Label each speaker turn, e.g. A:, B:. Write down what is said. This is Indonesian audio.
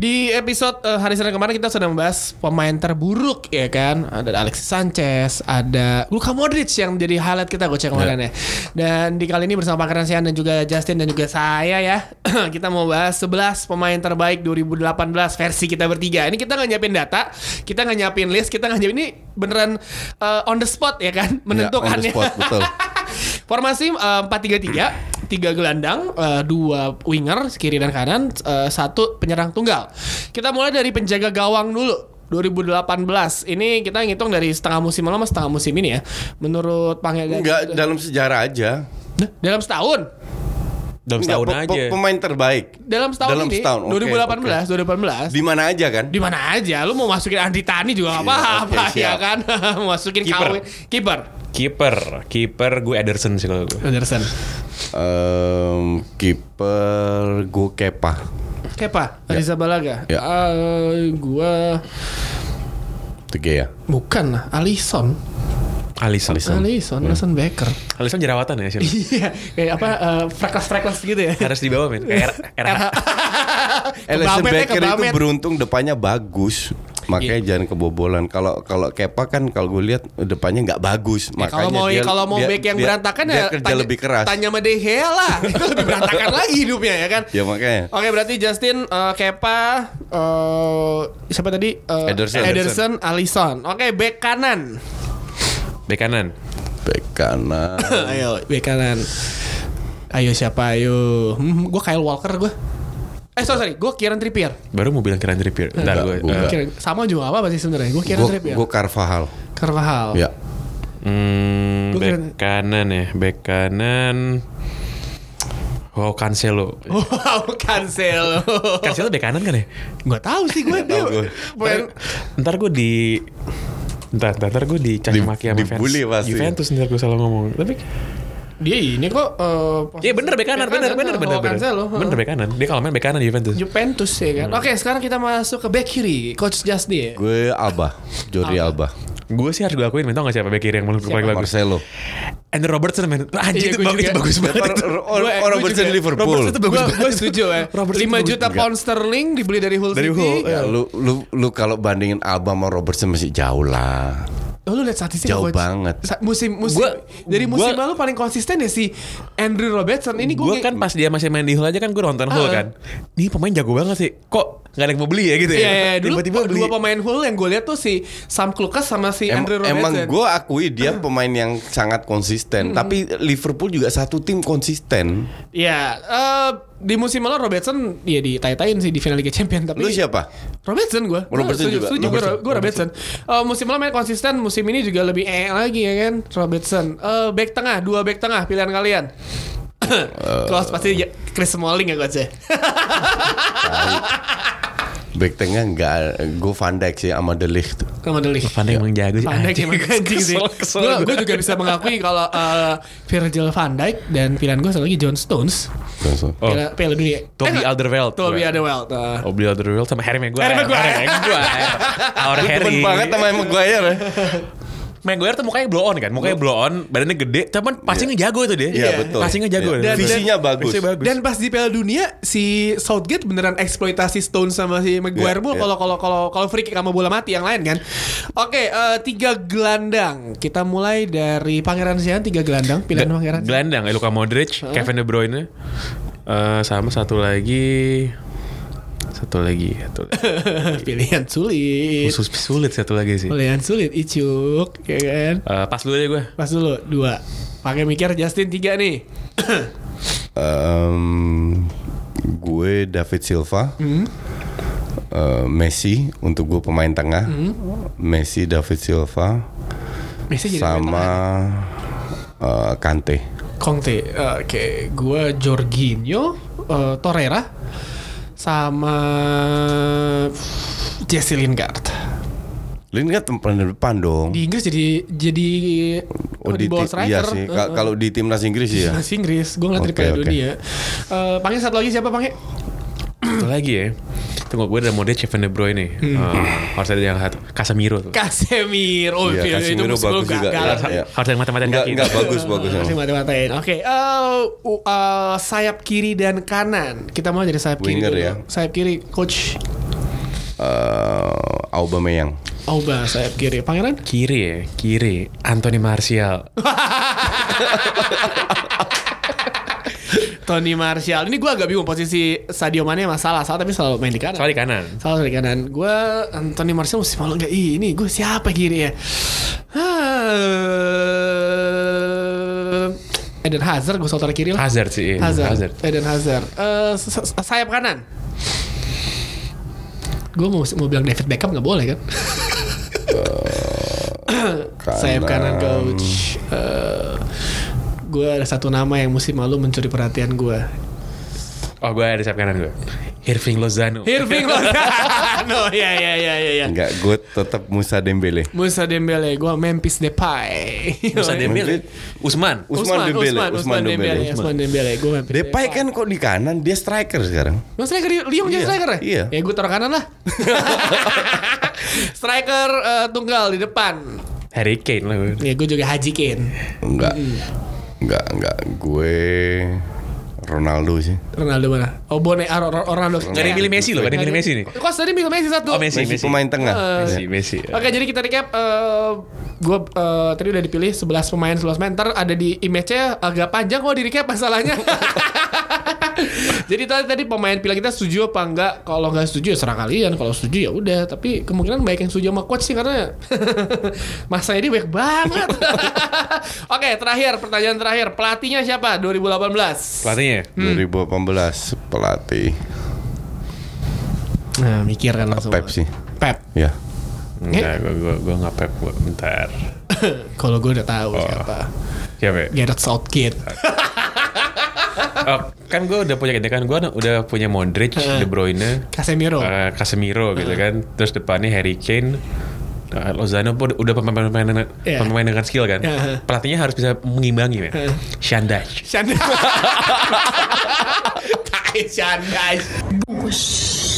A: Di episode eh, hari Senin kemarin kita sudah membahas pemain terburuk ya kan. Ada Alexis Sanchez, ada Luka Modric yang jadi highlight kita goceng kemarin ya. Dan di kali ini bersama Kak Rensian dan juga Justin dan juga saya ya. kita mau bahas 11 pemain terbaik 2018 versi kita bertiga. Ini kita nggak nyiapin data, kita nggak nyiapin list, kita nggak nyiapin ini beneran eh, on the spot ya kan menentukannya.
B: Ya, on the spot, betul.
A: Formasi eh, empat tiga tiga, tiga gelandang, eh, dua winger kiri dan kanan, eh, satu penyerang tunggal. Kita mulai dari penjaga gawang dulu. 2018 ini kita ngitung dari setengah musim lama setengah musim ini ya. Menurut Pangeran
B: Enggak dalam sejarah aja.
A: Nah, dalam setahun.
B: Enggak,
C: Dalam setahun
B: pe- pe-
C: aja.
B: Pemain terbaik
A: Dalam setahun
B: Dalam
A: ini
B: setahun, oke,
A: 2018 2018.
B: di mana aja kan?
A: Di mana aja lu mau masukin Andi Tani juga nggak apa-apa
B: oke,
A: ya
B: siap.
A: kan. Mau masukin
C: Kiper.
A: KW kiper.
C: Kiper, kiper gue Ederson sih kalau gue.
A: Anderson.
B: Em, kiper gue Kepa.
A: Kepa, Riza Balaga.
B: Ya.
A: Eh, gua
B: Itu ya. Gea.
A: bukan lah, Alisson.
C: Alis, Alisson.
A: Alisson, Alisson Becker.
C: Alisson jerawatan ya sih.
A: Iya, kayak apa freckles-freckles gitu ya.
C: Harus dibawa men. Kayak R- RH.
B: Alison
A: Kebamet ya,
B: Becker itu
A: kebamet.
B: beruntung depannya bagus. Makanya jangan kebobolan. Kalau kalau Kepa kan kalau gue lihat depannya nggak bagus.
A: Ya,
B: Makanya
A: kalau mau
B: dia-
A: kalau mau
B: dia-
A: back yang
B: dia-
A: berantakan
B: dia
A: ya
B: kerja lebih keras.
A: Tanya sama De Gea lah. Itu lebih berantakan lagi hidupnya ya kan.
B: Ya makanya.
A: Oke, berarti Justin eh, Kepa eh, siapa tadi? Eh,
B: Ederson.
A: Ederson, Alisson. Oke, back kanan.
C: Bek kanan.
B: Back kanan. Oh,
A: Ayo, back kanan. Ayo siapa ayo? Hmm, gue Kyle Walker gue. Eh sorry, sorry. gue Kieran Trippier.
C: Baru mau bilang Kieran Trippier. Bentar gue.
B: Enggak.
C: eh,
A: Kieran- sama juga nggak apa-apa sih sebenarnya. Gue Kieran Trippier.
B: Gue Carvajal.
A: Carvajal.
B: Ya.
C: Hmm,
A: Gua
C: bek
A: Kieran-
C: kanan ya, bek kanan. Wow, Cancelo.
A: Oh. Wow, Cancelo.
C: Cancelo bek kanan kan ya?
A: Gak tahu sih gue dia.
B: tahu gue.
A: Pemain-
C: Ntar gue di Ntar, ntar, ntar gue
B: Di-
C: dicaci maki sama fans
B: dibully pasti.
C: Juventus ntar gue salah ngomong Tapi
A: Dia ini kok. eh, pos-
C: Iya bener bek kanan
A: Bek
C: Bener,
A: kanan,
C: bener,
A: oh,
C: bener Bener,
A: Cancelo, heeh.
C: bener bek kanan Dia kalau main bek kanan Juventus
A: Juventus ya kan. Oke, sekarang kita masuk ke back kiri, Coach Justin. ya.
B: Gue Alba. Jordi Alba.
C: Gue sih harus gue akuin, men, tau gak siapa bek kiri yang menurut gue paling bagus?
B: Marcelo.
C: Andrew Robertson, men.
A: Iya,
C: Anjing Ah, itu,
A: gua
C: ba- itu
A: juga.
C: bagus banget. itu.
A: Gua- ya? gua
B: Orang Robertson
A: juga.
B: Liverpool.
C: Robertson itu bagus
A: Gue
C: banget.
A: setuju ya.
C: Robertson
A: 5
C: itu
A: juta
C: bagus.
A: pound sterling dibeli dari Hull
C: Dari
A: City.
C: Hull,
B: Ya,
C: iya.
B: lu lu lu kalau bandingin Alba sama Robertson masih jauh lah.
A: Oh, lu lihat statistik
B: Jauh banget.
A: Sa- musim musim
C: Gua-
A: dari musim
C: gua-
A: lalu paling konsisten ya si Andrew Robertson. Ini gue
C: Gue kan pas dia masih main di Hull aja kan gue nonton
A: Ah.
C: Hull kan. Nih pemain jago banget sih. Kok gak ada yang mau beli ya gitu ya?
A: Iya, iya, dulu
C: Tiba-tiba beli.
A: dua pemain Hull yang gue lihat tuh si Sam Klukas sama si
B: Em-
A: Andrew Iya, Robertson.
B: emang gue akui dia pemain yang sangat konsisten, tapi Liverpool juga satu tim konsisten.
A: Ya, eh, di musim lalu Robertson ya ditai-tain sih di final Liga Champions tapi
B: Lu siapa?
A: Robertson gue.
B: Robertson juga.
A: gue gue Robertson. Eh, musim lalu main konsisten, musim ini juga lebih eh lagi ya kan Robertson. Eh, back tengah, dua back tengah pilihan kalian.
C: Eh.
A: Close pasti ya, Chris Smalling ya gue sih.
B: Back tengah enggak gue Van Dijk sih sama De Ligt.
A: Kamu deli.
C: Van Dijk emang jago sih.
A: Van Dijk
C: Anjing,
A: emang anjing sih.
C: kesel, kesel
A: Gue
C: gua.
A: juga bisa mengakui kalau eh, Virgil Van Dijk dan pilihan gue satu lagi John Stones.
B: Langsung.
C: Oh.
A: Piala, Piala dunia.
C: Toby
A: enggak.
C: Alderweireld.
A: Eh, Toby
C: Gua.
A: Alderweireld. eh.
C: Obli Alderweireld sama Harry Maguire.
A: Harry Maguire. ya.
C: Harry Maguire. Our
B: Lu
C: Harry.
B: demen banget sama Maguire ya.
C: Maguire tuh mukanya blow on kan. Mukanya blow on, badannya gede, cuman passingnya jago itu dia.
B: Iya, betul.
C: Passingnya jago.
B: Iya. Dan- Visinya bagus.
C: Visinya bagus.
A: Dan pas di Piala Dunia si Southgate beneran eksploitasi Stone sama si Maguire
B: Iya,
A: mulu
B: iya.
A: kalau kalau kalau kalau free kick sama bola mati yang lain kan. Oke, eh, tiga gelandang. Kita mulai dari Pangeran Sian tiga gelandang pilihan
C: Ge-
A: Pangeran. Sian.
C: Gelandang ya, Luka Modric, Kevin De Bruyne. Eh, sama satu lagi satu lagi satu lagi.
A: pilihan sulit.
C: Khusus sulit satu lagi sih.
A: Pilihan sulit Icuk, ya kan?
C: Eh, pas dulu ya gue.
A: Pas dulu dua. Pakai mikir Justin tiga nih.
B: Em, gue David Silva. Eh, Messi untuk gue pemain tengah. Messi, David Silva
A: Messi jadi
B: sama eh, Kante.
A: Conte. Oke, gua Jorginho, eh, Torreira sama Jesse Lingard.
B: Lingard pemain depan dong.
A: Di Inggris jadi jadi
B: Oh, di
A: bawah Iya.
B: ti- iya sih.
A: Eh, eh.
B: Ka- Kalau di timnas Inggris sih ya.
A: Timnas Inggris, gue ngeliat dari
B: Oke,
A: periode
B: oke. Iya,
A: dia. Eh, Pange satu lagi siapa Pange?
C: Satu lagi ya. Tunggu gue ada mode Kevin De Bruyne nih.
A: Hmm.
C: Eh, harus ada yang satu. Casemiro tuh.
A: Casemiro. Oh, itu-
B: Iya,
A: itu
B: Casemiro
A: musuh lu
B: bagus juga.
A: gagal.
B: Iya,
A: Tapi-
B: iya.
C: Harus ada yang mata-mataan
B: Enggak
C: kaki.
B: enggak
A: Iya.
B: bagus bagus.
A: Masih mata-matain. Oke, eh, u- eh, sayap kiri dan kanan. Kita mau jadi sayap kiri.
B: Winger
A: dulu.
B: ya.
A: Sayap kiri, coach.
B: Eh, Aubameyang.
A: Auba sayap kiri. Pangeran?
C: Kiri ya, kiri. Anthony Martial.
A: Tony Martial. Ini gue agak bingung posisi Sadio Mane masalah. Salah tapi selalu main di kanan.
C: Soalnya di kanan.
A: Salah dari kanan. Gue Anthony Martial mesti malu nggak? Ih, ini gue siapa kiri ya? Hah, Ah. Eden Hazard gue saudara kiri lah.
C: Hazard sih. iya.
A: Hazard. Eden Hazard. Eh, sa- sa- sayap kanan. Gue mau mau bilang David Beckham nggak boleh kan? Sayap kanan coach. Eh, gue ada satu nama yang mesti malu mencuri perhatian gue.
C: Oh gue ada sayap kanan gue. Irving Lozano.
A: Irving Lozano. Ya ya ya ya ya.
B: Enggak, gue tetap Musa Dembele.
A: Musa Dembele, gue Memphis Depay.
C: Musa Dembele.
B: Mungkin-
C: Usman.
B: Usman Dembele,
A: Usman,
B: Usman
A: Usman Dembele, iya,
B: Dembele.
A: Usman Dembele, gue Memphis
B: Depay kan kok di kanan, dia striker sekarang.
A: Lo striker di- Lyon jadi
B: Iya,
A: striker ya?
B: iya.
A: Ya gue taruh kanan lah. striker eh, tunggal di depan.
C: Harry Kane lah gue.
A: Ya gue juga Haji Kane.
B: Enggak. Enggak, enggak. Gue Ronaldo sih.
A: Ronaldo mana? Oh Bone, ah, Ro- Ro- Ronaldo.
C: Gak ada yang milih Messi loh, gak ada yang milih Messi nih.
A: Kok tadi milih Messi satu?
C: Oh Messi,
B: Messi
C: Messi.
B: pemain
A: Eh,
B: tengah. Ya.
C: Messi,
A: Hmm.
C: Messi.
B: Iya.
A: Oke, jadi kita recap. eh gue eh, tadi udah dipilih 11 pemain, 11 pemain. Ntar ada di image-nya agak panjang kok di recap masalahnya. jadi tadi, tadi pemain pilihan kita setuju apa enggak? Kalau enggak setuju ya serah kalian. Kalau setuju ya udah. Tapi kemungkinan baik yang setuju sama coach sih karena masa ini baik banget. Oke, terakhir pertanyaan terakhir. Pelatihnya siapa? 2018.
C: Pelatihnya.
B: 2018 pelatih
A: Nah, mikir kan langsung.
B: Pep sih.
A: Pep.
B: Ya.
C: Enggak, gue gue gue nggak pep gue. Bentar.
A: Kalau gue udah tahu
B: Oh.
A: siapa.
C: Siapa? ya?
A: Gareth Southgate.
C: Oh, kan gue udah punya kan gue udah punya Modric, De Bruyne,
A: Casemiro.
C: eh, Casemiro gitu kan. Terus depannya Harry Kane. eh, Lozano pun udah pemain-pemain
A: Iya.
C: pemain dengan skill kan.
A: Iya.
C: Pelatihnya harus bisa mengimbangi, men. Shandai.
A: Chandai. Tai Chandai.
D: Bungkus.